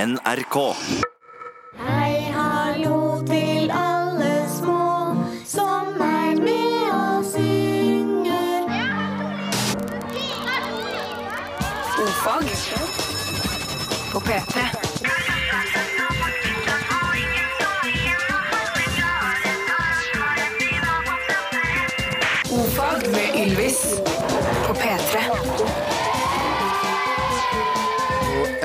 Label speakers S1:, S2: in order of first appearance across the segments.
S1: NRK.
S2: Hei, hallo til alle små. Sommeren med oss synger.
S3: Ofag på P3. Ofag med Ylvis på P3.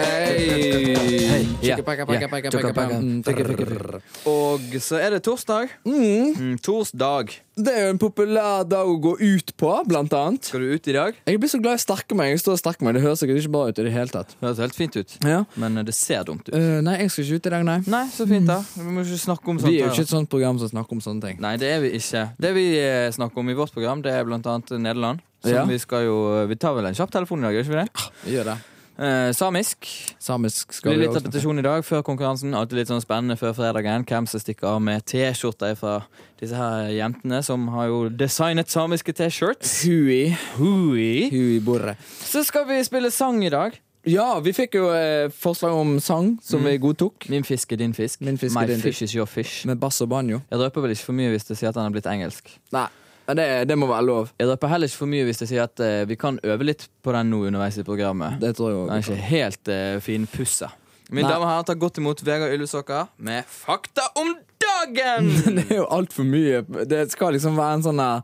S4: Hei.
S5: Ja,
S4: Tjukka-pakka,
S5: ja.
S4: pakka, pakka,
S5: Tjukka
S4: pakka,
S5: pakka.
S4: pakka.
S5: Tjukka pakka.
S4: Og så er det torsdag. Mm, torsdag.
S5: Det er jo en populær dag å gå ut på, blant annet.
S4: Skal du ut i dag?
S5: Jeg blir så glad i sterke meg. Jeg står og sterker meg. Det høres sikkert ikke bra ut i det hele tatt.
S4: Det høres helt fint ut,
S5: Ja.
S4: men eh, det ser dumt ut.
S5: Eh, nei, jeg skal ikke ut i dag, nei. Mm.
S4: Nei, så fint, da. Vi må ikke snakke om sånt.
S5: Vi er jo
S4: her,
S5: ikke
S4: da.
S5: et sånt program som snakker om sånne ting.
S4: Nei, det er vi ikke. Det vi eh, snakker om i vårt program, det er blant annet Nederland. Som
S5: Ja.
S4: vi skal jo eh, Vi tar vel en kjapp telefon i dag, gjør ikke vi det?
S5: Vi gjør det.
S4: Eh, samisk.
S5: Samisk Ah. skal
S4: Blir
S5: vi
S4: litt
S5: også snakke.
S4: repetisjon i dag før konkurransen. Alltid litt sånn spennende før fredagen. Hvem som stikker av med T-skjorter fra disse her jentene, som har jo designet samiske T-shirts.
S5: Hui.
S4: Hui.
S5: Hui borre.
S4: Så skal vi spille sang i dag. Mm.
S5: Ja, vi fikk jo eh, forslag om sang som vi godtok.
S4: Min fisk er din fisk.
S5: Min fisk er
S4: My
S5: din
S4: fish is your fish.
S5: Med bass og banjo.
S4: Jeg røper vel ikke for mye hvis jeg sier at den er blitt engelsk.
S5: Nei, men det, det må være lov.
S4: Jeg røper heller ikke for mye hvis jeg sier at eh, vi kan øve litt på den nå underveis i programmet.
S5: Det tror jeg
S4: Den er
S5: også.
S4: ikke helt uh, finpussa. Mine
S5: Nei.
S4: damer og herrer, ta godt imot Vegard Ylvesåker med Fakta om dagen!
S5: Det er jo altfor mye. Det skal liksom være en sånn der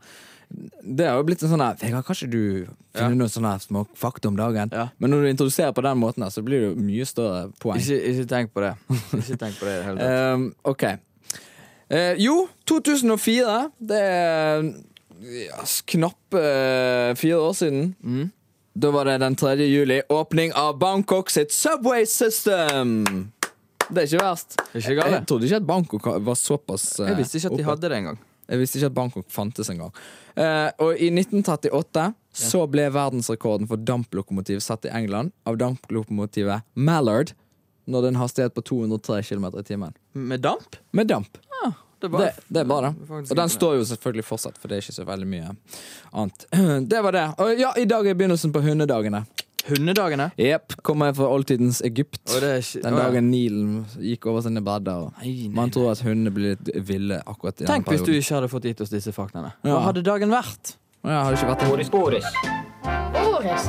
S5: det har jo blitt en sånn her Vegard, kan ikke du finne
S4: Ja.
S5: noen sånne her små fakta om dagen?
S4: Ja.
S5: Men når du introduserer på den måten, her, så blir det jo mye større poeng.
S4: Ikke, ikke tenk på det. Ikke tenk på det i det hele tatt.
S5: Ehm, ok. Eh, jo, 2004. Det er ja, s- knappe eh, fire år siden.
S4: Mm.
S5: Da var det den 3. juli. Åpning av Bangkok sitt subway system. Det er ikke verst.
S4: Det er ikke
S5: Jeg,
S4: galt.
S5: jeg trodde ikke at Bangkok var såpass eh,
S4: Jeg visste ikke at
S5: oppe.
S4: de hadde det engang.
S5: Jeg visste ikke at Bangkok fantes engang. Eh, og i 1938 så ble verdensrekorden for damplokomotiv satt i England av damplokomotivet Mallard. Nådde en hastighet på 203 km i timen.
S4: Med damp?
S5: Med damp.
S4: Det
S5: Det, det er bra,
S4: Det er
S5: da.
S4: faktisk
S5: Og den
S4: ikke
S5: står jo selvfølgelig fortsatt, for det er ikke så veldig mye annet. Det var det. Og ja, i dag er begynnelsen på hundedagene.
S4: Hundedagene?
S5: Jepp. Kommer fra oldtidens Egypt.
S4: Og det er ikke-
S5: Den
S4: Å, ja.
S5: dagen Nilen gikk over sine bredder. og
S4: Nei, nei,
S5: Man tror at hundene blir litt ville akkurat i den
S4: Tenk hvis du
S5: perioden.
S4: ikke hadde fått gitt oss disse faktaene. Hva
S5: Ja.
S4: hadde dagen vært?
S5: Ja, har det ikke vært det?
S6: Boris, Boris.
S7: Boris,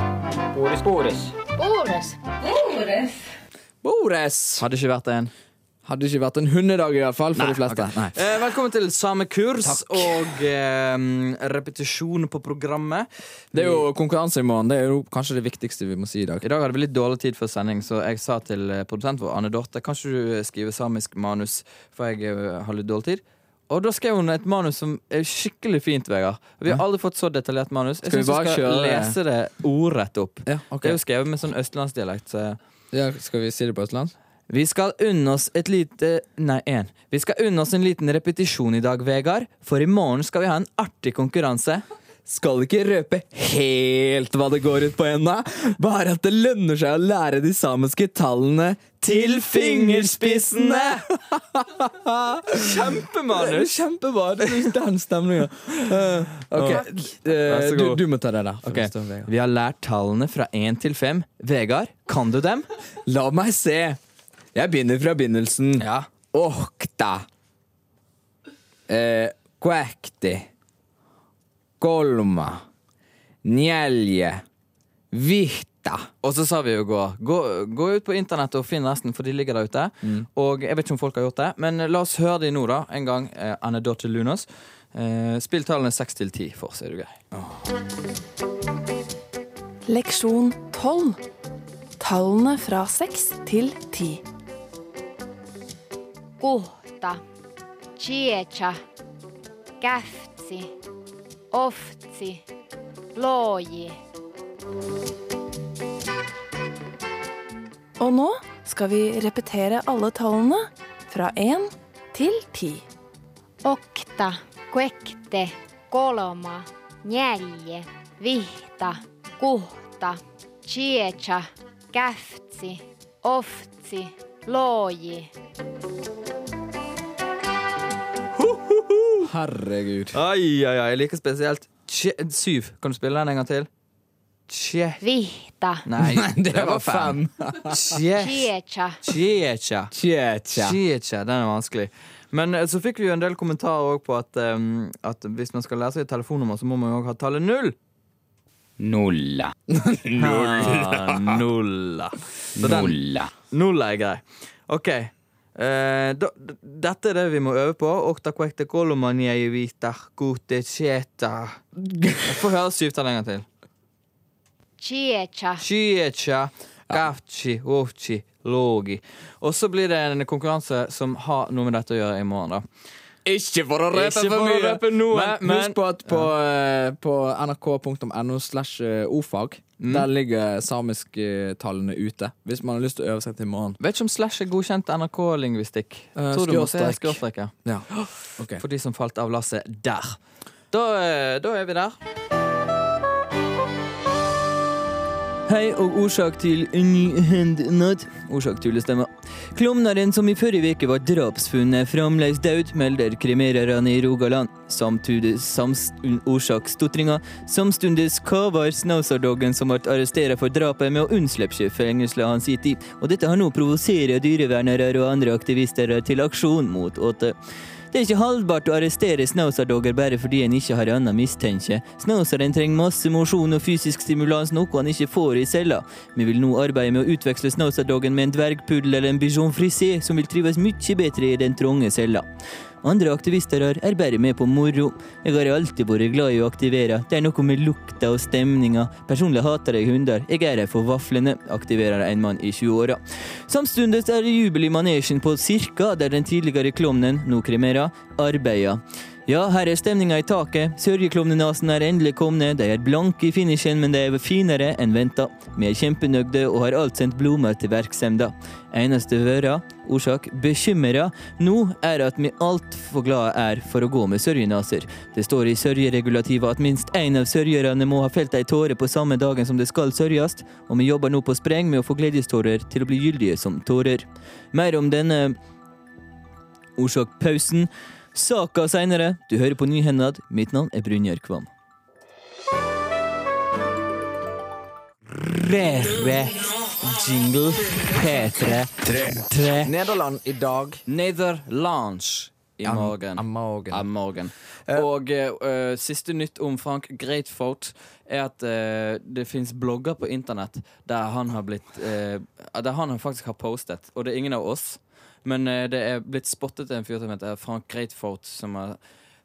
S6: Boris, Boris.
S7: Boris,
S5: Bores!
S4: Hadde ikke vært en.
S5: Hadde ikke vært en hundedag, i hvert fall, for de fleste. Nei.
S4: Eh, velkommen til Samekurs og eh, repetisjon på programmet.
S5: Det er jo konkurranse i morgen. Det er jo kanskje det viktigste vi må si i dag.
S4: I dag hadde vi litt dårlig tid før sending, så jeg sa til eh, produsent vår, Anne Dorte, kan ikke du eh, skrive samisk manus, for jeg eh, har litt dårlig tid. Og da skrev hun et manus som er skikkelig fint, Vegard. Vi har aldri fått så detaljert manus. Jeg
S5: Skal vi
S4: syns vi
S5: bare
S4: skal
S5: kjøre-
S4: lese det ordrett opp.
S5: Ja, ok.
S4: Det er jo skrevet med sånn østlandsdialekt. Så
S5: Ja, skal vi si det på østlandsk?
S4: Vi skal unne oss et lite Nei, en. Vi skal unne oss en liten repetisjon i dag, Vegard. For i morgen skal vi ha en artig konkurranse.
S5: Skal ikke røpe helt hva det går ut på ennå, bare at det lønner seg å lære de samiske tallene til fingerspissene! Det er
S4: Kjempemanus!
S5: kjempebra! Det er den stemninga. ok, eh,
S4: Vær så
S5: du,
S4: god.
S5: du må ta det der. for
S4: Ok,
S5: det står Vegard.
S4: Vi har lært tallene fra én til fem. Vegard, kan du dem?
S5: La meg se. Jeg begynner fra begynnelsen.
S4: Ja.
S5: Okta. Eh, Kväkti. Kolma. Njelje. Vihta.
S4: Og så sa vi jo gå. gå. Gå ut på internett og finn resten, for de ligger der ute. Og jeg vet ikke om folk har gjort det, men la oss høre de nå, da. En gang. Eh, Anne Dotter Lunas. Eh, spill tallene seks til ti for, så er du grei.
S3: Leksjon 12. Tallene fra 6 til 10.
S7: kohta, tietä, käftsi, oftsi, looji.
S3: Og nå skal vi repetere alle tallene fra 1 til 10.
S7: Okta, kuekte, kolma, neljä, vihta, kuhta, tietä, käftsi, oftsi, looji.
S5: Herregud.
S4: Ai, ai, ai, jeg liker spesielt Tje- Syv, kan du spille den en gang til? Tje...
S7: vihta,
S4: Nei,
S5: Det var fem.
S4: Tje...
S7: tietja,
S4: Tjetja.
S5: Tjetja.
S4: Tjetja, den er vanskelig. Men eh, så fikk vi jo en del kommentarer også på at, eh, at hvis man skal lære seg et telefonnummer, så må man jo også ha tallet null.
S1: Nulla.
S4: Ah, nulla. Så den,
S1: Nulla.
S4: nulla er grei. Ok. eh, da, d- dette er det vi må øve på. Okta quekte kolomania i vita kute tjeta. Jeg får høre syvtallet en gang til. e
S7: tietja,
S4: Chiecha, gafchi, ofchi, logi. Og så blir det en konkurranse som har noe med dette å gjøre i morgen, da.
S5: Ikke for å røpe
S4: Ikke
S5: for
S4: for å
S5: mye.
S4: røpe noe,
S5: men,
S4: men-
S5: husk på at på, eh, på nrk.no slash eh, ofag,
S4: Mm.
S5: der ligger samisktallene ute. Hvis man har lyst til å øve seg til i morgen.
S4: Vet ikke om slash er godkjent NRK-lingvistikk.
S5: Eh,
S4: Tror du må se
S5: skråstrek.
S4: skråstreket.
S5: Ja. Ok.
S4: For de som falt av lasset der. Da, eh, da er vi der. Hei og orsak til nyhendnad. Orsak tullestemme. Klovneren som i forrige uke var drapsfunnet, fremdeles død, melder kremererne i Rogaland. Samtidig sams, un- orsak stotringa. Samtidig kaver Snauser-doggen som ble arrestert for drapet, med å unnslippe seg fengselet han sitter i. Og dette har nå provosert dyrevernere og andre aktivister til aksjon mot åte. Det er ikke holdbart å arrestere Snauser-dogger bare fordi en ikke har annet mistenke. Snauseren trenger masse mosjon og fysisk stimulans, noe han ikke får i cella. Vi vil nå arbeide med å utveksle Snauser-doggen med en dvergpuddel eller en bijon frisé, som vil trives mye bedre i den trange cella. Andre aktivister her er bare med på moro. Jeg har alltid vært glad i å aktivere. Det er noe med lukta og stemninga. Personlig hater jeg hunder. Jeg er her for vaflene, aktiverer en mann i 20-åra. Samtidig er det jubel i manesjen på Cirka, der den tidligere klovnen, nå kremera, arbeider. Ja, her er stemninga i taket. Sørgeklovnenasen er endelig kommet. De er blanke i finishen, men de er finere enn venta. Vi er kjempenøgde og har alt sendt blomster til virksomheten. Eneste vera, orsak bekymra, nå er at vi altfor glade er for å gå med sørgenaser. Det står i sørgeregulativet at minst én av sørgerne må ha felt ei tåre på samme dagen som det skal sørges, og vi jobber nå på spreng med å få gledestårer til å bli gyldige som tårer. Mer om denne orsak pausen. Saka seinere. Du hører på Nyhendad. Mitt navn er Brynjar Kvam. Rere jingle P3 3
S5: Nederland i dag.
S4: Netherlands i morgen.
S5: Am- am morgen.
S4: Am morgen. Og eh, eh, siste nytt om Frank Greatfoot er at eh, det fins blogger på internett der han har blitt eh, Der han har faktisk har postet, og det er ingen av oss. Men eh, det er blitt spottet en fyr som heter Frank Greatfoot, som har,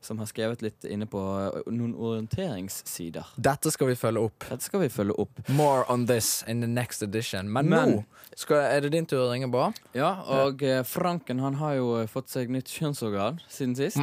S4: som har skrevet litt inne på eh, noen orienteringssider.
S5: Dette skal vi følge opp.
S4: Dette skal vi følge opp.
S5: More on this in the next edition. Men,
S4: Men-
S5: nå skal, er det din tur å ringe på.
S4: Ja, og eh, Franken han har jo eh, fått seg nytt kjønnsorgan siden sist.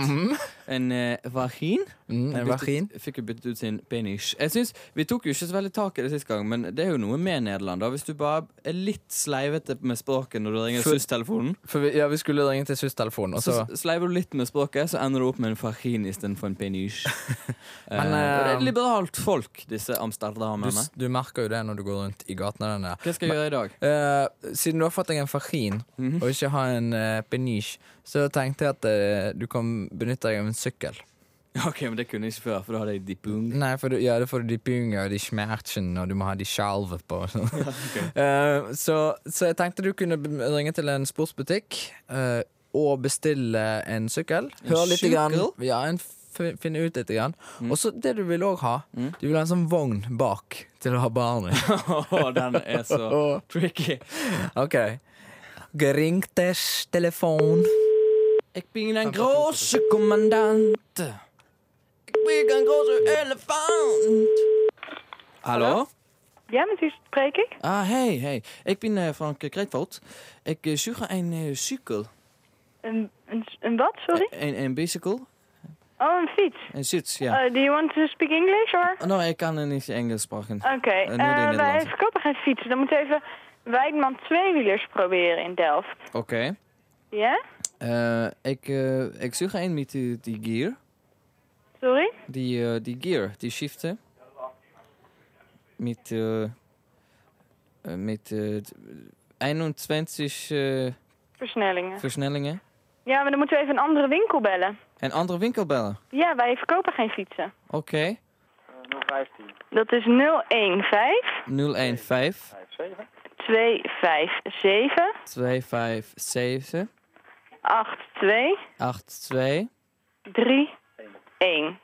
S4: En eh, vagin.
S5: Mm,
S4: Han
S5: en
S4: byttet-
S5: vagin.
S4: Fikk jo byttet ut sin penis. Jeg synes, Vi tok jo ikke så veldig tak i det sist gang, men det er jo noe med Nederland. da Hvis du bare er litt sleivete med språket når du ringer
S5: For-
S4: SUS-telefonen,
S5: For vi, ja, vi skulle ringe til SUS-telefonen. og
S4: så
S5: så-
S4: sleiver du litt med språket, så ender du opp med en vagin istedenfor en penis. Eh, og
S5: Men,
S4: det er
S5: eh,
S4: et liberalt folk, disse
S5: Du,
S4: amsterdamerne.
S5: s- du merker jo det når du går rundt i gatene. dine.
S4: Hva skal jeg gjøre i dag?
S5: Eh, siden du har fått deg en fahin og ikke har en uh, benisj, så tenkte jeg at eh, du kan benytte deg av en sykkel.
S4: Ok, men Det kunne jeg ikke før, for da hadde jeg dipung.
S5: Nei, for du, ja, det får du de punger og de smerten, og du må ha de skjalve på. og sånn. Eh, så, så jeg tenkte du kunne b- ringe til en sportsbutikk eh, og bestille en sykkel. Høre litt.
S4: sykkel?
S5: Grann, Mm. ja, en f- finne ut litt. Grann. Og så det du vil òg ha. Du vil ha en sånn vogn bak til å ha barn i.
S4: Å, den er så tricky.
S5: Ok. Geringtes telefon.
S4: Jeg blir den gråse kommandant. Jeg blir den gråse elefant. Hallo?
S6: Ja, met u spreek ik.
S4: Ah, hei, hei. Jeg ben eh, Frank Krijtveld. Ik eh, zoek een eh, cykel.
S6: Een, een, een wat, sorry?
S4: Een, een bicycle.
S6: Oh, een fiets.
S4: Een zit, ja.
S6: Uh, do you want to speak English, or?
S4: Oh, nou, ik kan eh, niet Engels spreken.
S6: Oké,
S4: doe
S6: eh,
S4: die Nederlands.
S6: wij verkopen geen fietsen. Dan moet even Wijdman tweewielers proberen in Delft.
S4: Oké.
S6: Ja?
S4: Eh, ik, eh, ik zoek een met die, die gear.
S6: Sorry?
S4: Die, eh, die gear, die shiften. Met, eh, eh, met eh, 21 eh,
S6: Versnellingen.
S4: versnellingen.
S6: Ja, maar dan moeten we even een andere winkel bellen.
S4: En andere winkelbellen.
S6: Ja, wij verkopen geen fietsen.
S4: Oké.
S8: 015
S6: Dat is 015
S4: 015
S8: 57
S6: 257
S4: 257
S6: 82
S4: 82
S6: 31.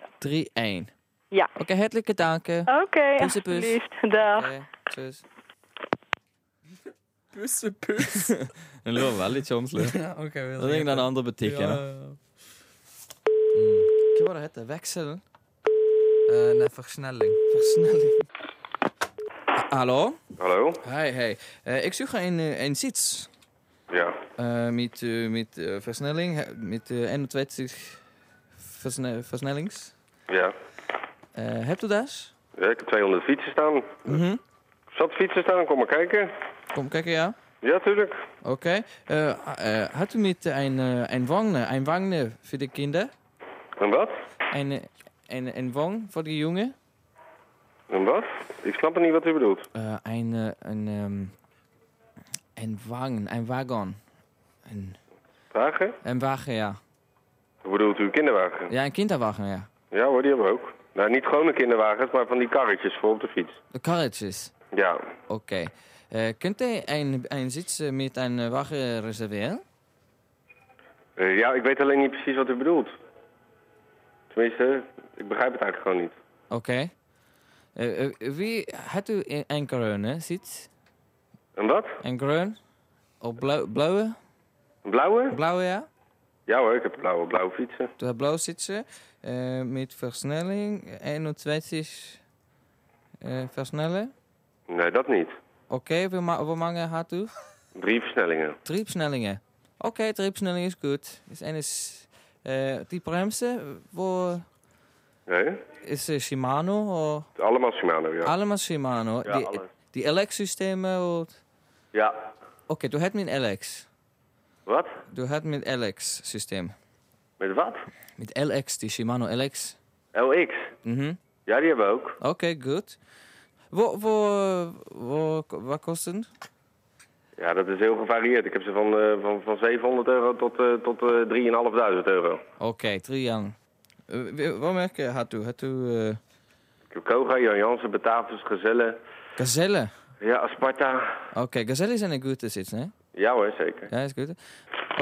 S4: 31.
S6: Ja.
S4: Ok, hartelijke danken.
S6: Oké,
S4: Pussy, puss.
S6: alsjeblieft. Dag.
S4: Ok, tjus. Den lå veldig tjomslig. Ring den andre butikken. da. Hva var det hette? Vekselen?
S5: nei, forsnelling.
S4: Versnelling? Hallo?
S9: Hallo?
S4: Hei, hei. Eh, jeg søker en, eh, en sits.
S9: Ja.
S4: Eh, mitt eh, mitt eh, versnelling he- Mitt eh, 21 versne, versnellings.
S9: Ja.
S4: Eh, heb je dat?
S9: Ja, Ik heb 200 fietsen staan. Zat fietsen staan, kom maar kijken.
S4: Kom kijken, ja.
S9: Ja, tuurlijk.
S4: Oké. Eh, eh, had u met een, eh, een wangne, een wangne voor de kinderen?
S9: En wat?
S4: Een, eh, een, een wang voor de jongen?
S9: En wat? Ik snap niet wat u bedoelt.
S4: Eh, een, eh, een, ehm, een wang, een wagon. Een,
S9: Wagen?
S4: een wagen, ja.
S9: Hoe bedoelt u een kinderwagen?
S4: Ja, een kinderwagen, ja.
S9: Ja hoor, die hebben we ook. Nou, niet gewone kinderwagens, maar van die karretjes voor op de fiets.
S4: De karretjes.
S9: Ja.
S4: Oké. Eh, kunt u een, een zits eh, met een eh, wagen reserveren?
S9: Eh, ja, ik weet alleen niet precies wat u bedoelt. Tenminste, ik begrijp het eigenlijk gewoon niet.
S4: Oké. Eh, eh, wie had u een- een groen, hè, zits?
S9: En wat?
S4: Een groen? Of blauw, blauwe?
S9: Een blauwe?
S4: Blauwe, ja.
S9: Ja hoor, ik heb blauwe, blauwe fietsen.
S4: De blauw zitsen eh, met versnelling 21 eh, versnellen.
S9: Nee, dat niet.
S4: Oké, wie ma- hoe mange had u?
S9: Drie versnellingen.
S4: Triebsnellingen. Oké, triebsnelling is goed. Is en is eh, die bremsen voor
S9: Nee?
S4: is eh, Shimano of
S9: Allemaal Shimano, ja.
S4: allemaal Shimano.
S9: Ja,
S4: die
S9: alles.
S4: die LX-systemen. Oké,
S9: Ja.
S4: du hebt met LX.
S9: Wat?
S4: Du hebt met LX-systeem.
S9: Met wat?
S4: Met LX, die Shimano LX.
S9: LX.
S4: Mhm.
S9: Ja, die hebben we ook.
S4: Oké, goed. Wo, wo, wo, wat kost het?
S9: Ja, dat is heel gevarieerd. Ik heb ze van, eh, van, van 700 euro tot, eh, tot eh 3.500 euro.
S4: Oké, Trian. Wat merk had u? Had u eh,
S9: Ik heb Koga, Jan Jansen, Batavus, Gezelle.
S4: Gazelle?
S9: Ja, Asparta.
S4: Oké, Gazelle zijn een goede zits, hè?
S9: Ja hoor, zeker.
S4: Ja, is goed.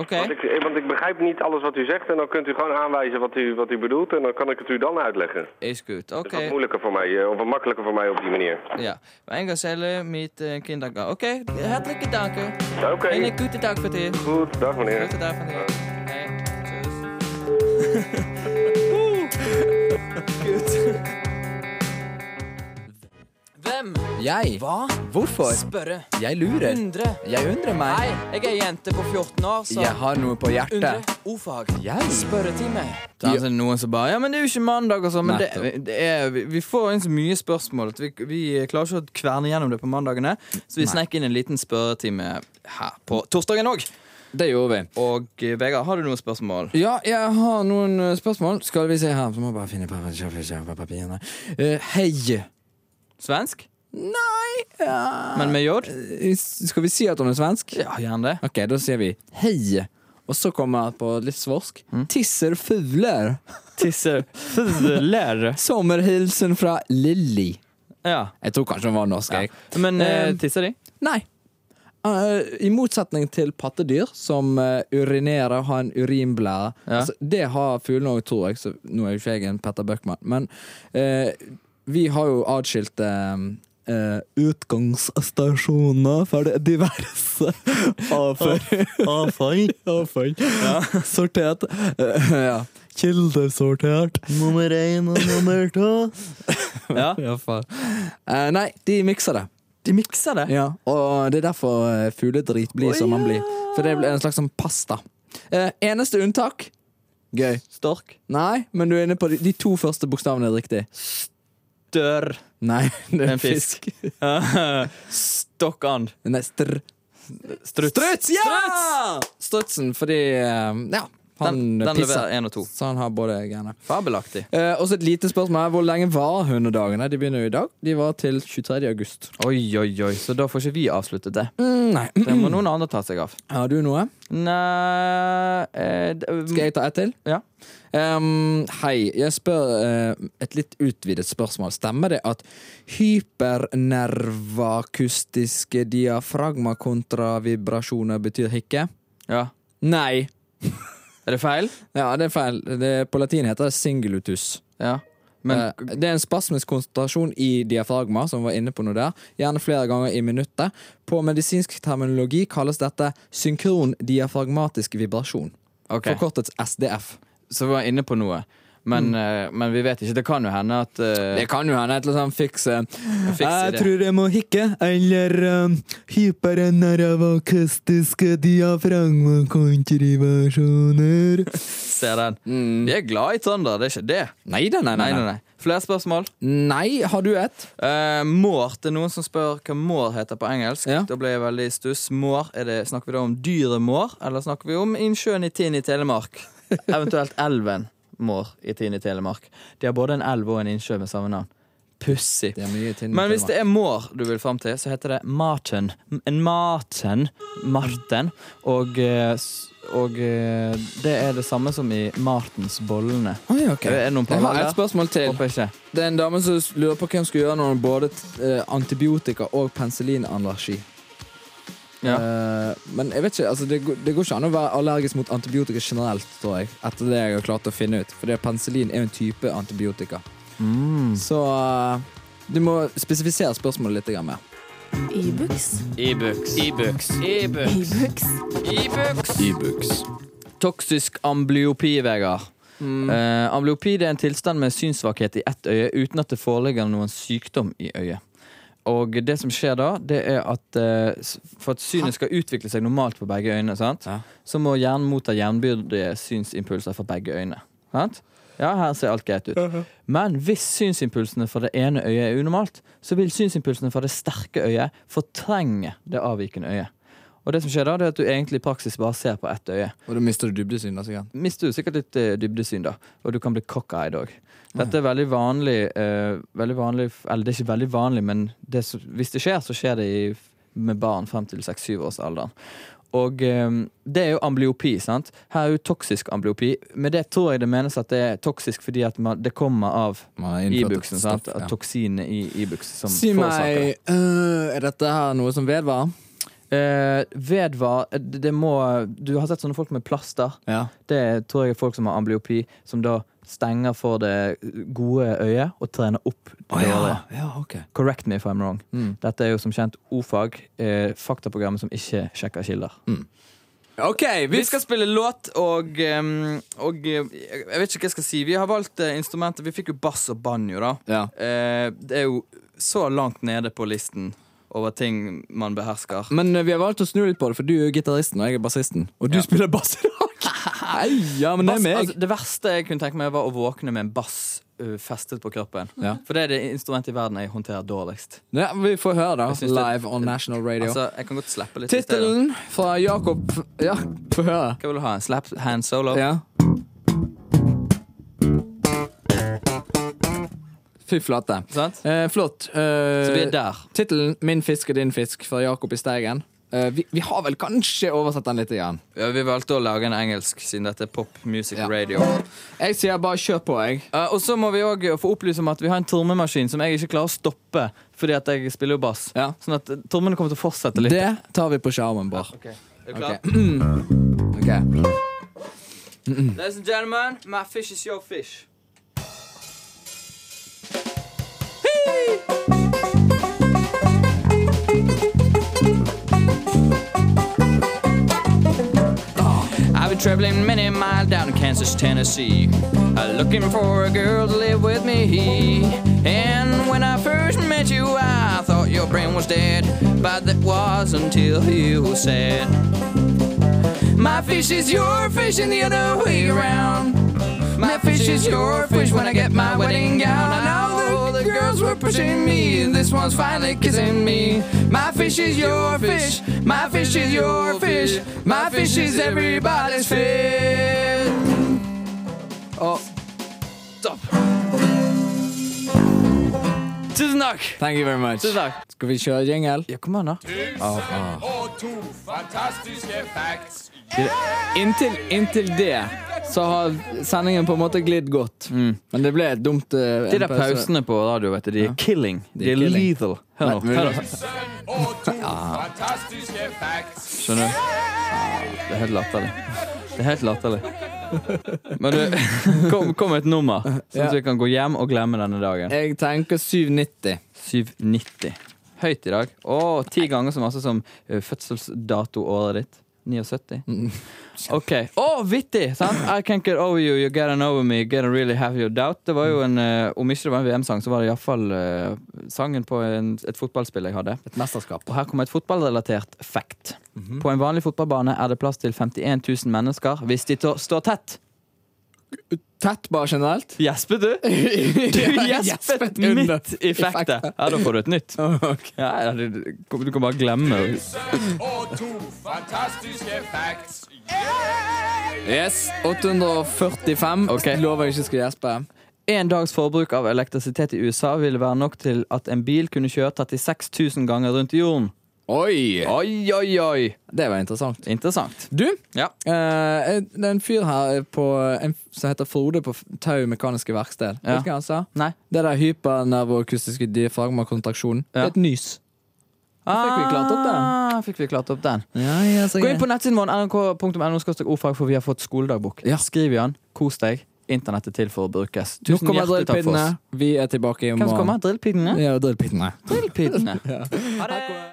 S4: Oké.
S9: Want ik, eh, want ik begrijp niet alles wat u zegt en dan kunt u gewoon aanwijzen wat u, wat u bedoelt en dan kan ik het u dan uitleggen.
S4: Is goed,
S9: Dat is
S4: oké.
S9: wat moeilijker voor mij, eh, of wat makkelijker voor mij op die manier.
S4: Ja, mijn gazelle met uh, kindergang. Oké, hartelijke danken.
S9: Oké,
S4: En een goede dag voor de
S9: goed. Dag meneer.
S4: Goede dag van de Hei, tjus. Hvem?
S5: Jeg?
S4: Hva?
S5: Hvorfor?
S4: Spørre.
S5: Jeg lurer.
S4: Undre.
S5: Jeg undrer
S4: Hei,
S5: meg.
S4: jeg er jente på 14 år, så
S5: Jeg har noe på
S4: Undre.
S5: hjertet.
S4: Ordfag.
S5: Jeg?
S4: Spørretime. Det er altså noen som bare Ja, men det er jo ikke mandag og sånn. Men det, det er, vi- vi får inn så mye spørsmål at vi, vi klarer ikke å kverne gjennom det på mandagene. Så vi snek inn en liten spørretime her på torsdagen òg.
S5: Det gjorde vi.
S4: Og eh, Vegard, har du noen spørsmål?
S5: Ja, jeg har noen eh, spørsmål. Skal vi se her. Så må jeg bare finne på på papirene. Eh, Hei.
S4: Svensk?
S5: Nei ja.
S4: Men med J?
S5: Eh, Skal vi si at hun er svensk?
S4: Ja, gjerne det.
S5: Ok, da sier vi hei. Og så kommer jeg på litt svorsk.
S4: Mm.
S5: Tisser fugler.
S4: Tisser fugler.
S5: Sommerhilsen fra Lilly.
S4: Ja.
S5: Jeg tror kanskje hun var norsk. jeg.
S4: Men eh,
S5: Eh,
S4: tisser de?
S5: Nei. Eh, I motsetning til pattedyr, som eh, urinerer og har en urinblære.
S4: Ja.
S5: Altså, det har fuglene òg, tror jeg. Så nå er jo ikke jeg en Petter Bøckmann, men eh, vi har jo atskilte eh, utgangsstasjoner for det diverse avfall. avfall. Sortert. Eh, ja. Kildesortert. Nummer én og nummer to.
S4: Ja.
S5: Ja, faen. Eh, nei, de mikser det.
S4: De mikser det.
S5: Ja, og det er derfor eh, fugledrit blir som man blir. For det blir en slags sånn pasta. Eh, eneste unntak Gøy.
S4: Stork.
S5: Nei, men du er inne på de, de to første bokstavene er riktig.
S4: Dør.
S5: Nei, det er
S4: En
S5: en fisk.
S4: fisk. Stokkand.
S5: Nei, str
S4: Struts.
S5: Struts! Ja! Strutsen, fordi eh, Ja, Han
S4: Den, den
S5: pisser.
S4: leverer én og to.
S5: Så han har både greiene.
S4: Fabelaktig.
S5: Eh, også et lite spørsmål her. Hvor lenge var hundedagene? De begynner jo i dag. De var til 23. august.
S4: Oi, oi, oi. Så da får ikke vi avsluttet det.
S5: Mm, nei.
S4: Det må noen andre ta seg av.
S5: Har du noe?
S4: Nei eh, d-
S5: Skal jeg ta ett til?
S4: Ja.
S5: Ehm, hei, jeg spør eh, et litt utvidet spørsmål. Stemmer det at hypernervakustiske diafragmakontravibrasjoner betyr hikke?
S4: ja.
S5: Nei.
S4: Er det feil?
S5: Ja, det er feil. Det, på latin heter det singulutus.
S4: Ja. Men
S5: Eh, det er en spasmisk konsentrasjon i diafragma, som vi var inne på noe der, gjerne flere ganger i minuttet. På medisinsk terminologi kalles dette synkron diafragmatisk vibrasjon,
S4: ok,
S5: forkortet SDF.
S4: så vi var inne på noe. Men, eh, men vi vet ikke. Det kan jo hende at eh,
S5: Mm. Det kan jo hende et eller annet fiks eh,
S4: fikser
S5: Jeg
S4: det.
S5: tror jeg må hikke, eller um, hypernervakustiske diafragmakontriversjoner.
S4: Ser den. Vi er glad i Trønder, det er ikke det.
S5: Nei da, nei,
S4: Nei, nei, nei. Flere spørsmål?
S5: Nei, har du et?
S4: Uh, Mår. Det er noen som spør hva mår heter på engelsk.
S5: Ja.
S4: Da ble jeg veldig i stuss. Mår, er det, snakker vi da om dyret mår, eller snakker vi om innsjøen i Tinn i Telemark? Eventuelt elven Mår i Tinn i Telemark. De har både en elv og en innsjø med samme navn. Pussig. Men hvis Mm, det er mår du vil fram til, så heter det Marten. En Marten. Marten. Og, eh, s- og eh, det er det samme som i Martens bollene.
S5: Oi, ok.
S4: Er det noen
S5: Jeg har
S4: paralleller?
S5: et spørmål til.
S4: Håper ikke.
S5: Det er en dame som lurer på hvem som skulle gjøre noe med både eh, antibiotika og penicillinallergi.
S4: Ja.
S5: Eh, men jeg vet ikke, altså, det, går- det går ikke an å være allergisk mot antibiotika generelt, tror jeg. Etter det jeg har klart å finne ut. For penicillin er jo en type antibiotika. Så eh, du må spesifisere spørsmålet litt grann mer.
S3: E-books.
S4: E-books.
S3: E-books.
S4: Toksisk amblyopi, Vegard. Eh, amblyopi det er en tilstand med synssvakhet i ett øye uten at det foreligger noen sykdom i øyet. Og det som skjer da, det er at eh, s- for at synet skal utvikle seg normalt på begge øynene, sant?
S5: Ja.
S4: så må hjernen motta jevnbyrdige synsimpulser fra begge øynene. Sant? Ja, her ser alt greit ut. Men hvis synsimpulsene fra det ene øyet er unormalt, så vil synsimpulsene fra det sterke øyet fortrenge det avvikende øyet. Og det som skjer da, det er at du egentlig i praksis bare ser på ett øye
S5: Og da mister du altså, dybdesynet sikkert.
S4: mister du sikkert litt eh, dybdesyn, da. Og du kan bli cockeyed òg. Dette er veldig vanlig, eh, veldig vanlig f- Eller det er ikke veldig vanlig, men det, som- hvis det skjer, så skjer det i, med barn frem til 6-7-årsalderen. Og eh, det er jo amblyopi. sant? Her er jo toksisk amblyopi. Med det tror jeg det menes at det er toksisk fordi at man, det kommer av
S5: Man har innført et
S4: Ibuxen. sant?
S5: stoff, ja.
S4: At Toksinene i Ibux som
S5: Si
S4: forårsaker det.
S5: meg, eh, er dette her noe som vedvarer?
S4: Eh, vedvar det, det må Du har sett sånne folk med plaster.
S5: Ja.
S4: Det tror jeg er folk som har amblyopi, som da stenger for det gode øyet og trener opp det dårlige.
S5: ja, ok.
S4: Correct me if I'm wrong.
S5: Mm.
S4: Dette er jo som kjent O-fag, eh, faktaprogrammet som ikke sjekker kilder.
S5: Mm. Ok,
S4: Vi skal spille låt, og, ehm, og eh, jeg vet ikke hva jeg skal si. Vi har valgt eh, instrumenter. Vi fikk jo bass og banjo, da.
S5: Ja.
S4: Eh, det er jo så langt nede på listen over ting man behersker.
S5: Men eh, vi har valgt å snu litt på det, for du er gitaristen og jeg er bassisten. Og du spiller bass i dag! Nei, ja, men det
S4: Bass,
S5: er meg.
S4: altså, det verste jeg kunne tenke meg, var å våkne med en bass ø, festet på kroppen.
S5: Ja.
S4: For det er det instrumentet i verden jeg håndterer dårligst.
S5: ja, vi får høre, da.
S4: Jeg synes det-
S5: Live on national radio.
S4: Altså, jeg kan godt slippe litt. i stedet.
S5: Tittelen fra Jakob Ja, få høre.
S4: Hva vil du ha? En slap hand solo?
S5: Ja. Fy flate.
S4: Sant?
S5: Eh, flott. Eh,
S4: Så vi er der.
S5: Tittelen 'Min fisk og din fisk' fra Jakob i Steigen. Eh, vi, vi har vel kanskje oversatt den litt. Igjen.
S4: Ja, vi valgte å lage en engelsk, siden dette er pop music
S5: Ja.
S4: radio.
S5: Jeg sier bare kjør på, jeg.
S4: Eh, og så må vi òg få opplyse om at vi har en trommemaskin som jeg ikke klarer å stoppe, fordi at jeg spiller jo bass.
S5: Ja.
S4: Sånn at eh, trommene kommer til å fortsette litt.
S5: Det tar vi på skjermen, Bård.
S4: Er du klar?
S5: Ok.
S4: Ladies and gentlemen, my fish is your fish. I've been traveling many miles down to Kansas, Tennessee, uh, looking for a girl to live with me. And when I first met you, I thought your brain was dead, but that was until you said, "My fish is your fish, and the other way around." My fish is your fish when I get my wedding gown. And all the girls were pushing me, and this one's finally kissing me. My fish is your fish, my fish is your fish, my fish is everybody's fish. og stopp. Tusen takk!
S5: Thank you very much.
S4: Tusen takk.
S5: Skal vi kjøre jingle? Ah,
S4: Ja, kom an, da.
S5: Inntil, inntil det så har sendingen på en måte glidd godt. Men det ble et dumt eh,
S4: Mm. De
S5: en
S4: der
S5: pause.
S4: pausene på radio, vet du, de er killing. De er
S5: killing.
S4: lethal. Hør nå.
S5: Nei,
S4: Hør nå. Skjønner du? Det er helt latterlig. Det er helt latterlig. Men du, kom, kom et nummer, sånn
S5: Ja.
S4: at vi kan gå hjem og glemme denne dagen.
S5: Jeg tenker 790.
S4: 790. Høyt i dag. Å, ti ganger så masse som eh, fødselsdatoåret ditt. 79.
S5: Mm.
S4: OK. Å, vittig! Sant? I can't get over you, you get an over me, get a really have your doubt. Det var jo en,
S5: Mm.
S4: eh, Om ikke det var en VM-sang, så var det iallfall uh, sangen på en, et fotballspill jeg hadde.
S5: Et mesterskap. Mhm.
S4: Og her kommer et fotballrelatert fact. På en vanlig fotballbane er det plass til 51 000 mennesker hvis de tå- står tett.
S5: Tett, bare generelt.
S4: Gjesper du? Du gjespet
S5: under.
S4: midt i factet. Ja, da får du et nytt. Ja, ja, du, du kan bare glemme det.
S5: Yes. 845.
S4: Ok.
S5: Lover jeg ikke skal gjespe.
S4: En dags forbruk av elektrisitet i USA ville være nok til at en bil kunne kjøre 36 000 ganger rundt jorden.
S5: Oi!
S4: Oi, oi, oi!
S5: Det var interessant.
S4: Interessant.
S5: Du,
S4: Ja.
S5: eh, det er en fyr her eh, på, en, som heter Frode på F- Tau Mekaniske Verksted.
S4: Ja.
S5: Vet du hva han sa?
S4: Nei.
S5: Det der hypernervoakustiske diafragmakontraksjonen.
S4: Ja.
S5: Det er et nys. fikk vi klart opp den.
S4: Ah, fikk vi klart opp den.
S5: Ja, ja, så
S4: Gå inn på nettsiden vår, nrk.no, ordfag, for vi har fått skoledagbok.
S5: Ja.
S4: Skriv i den. Kos deg. Internett er til for å brukes.
S5: Nå
S4: Tusen
S5: kommer
S4: hjertelig takk for
S5: drillpinnene.
S4: oss.
S5: Vi er tilbake i
S4: Hvem som kommer?
S5: morgen.
S4: Drillpinnene?
S5: Ja, drillpinnene.
S4: Drillpinnene.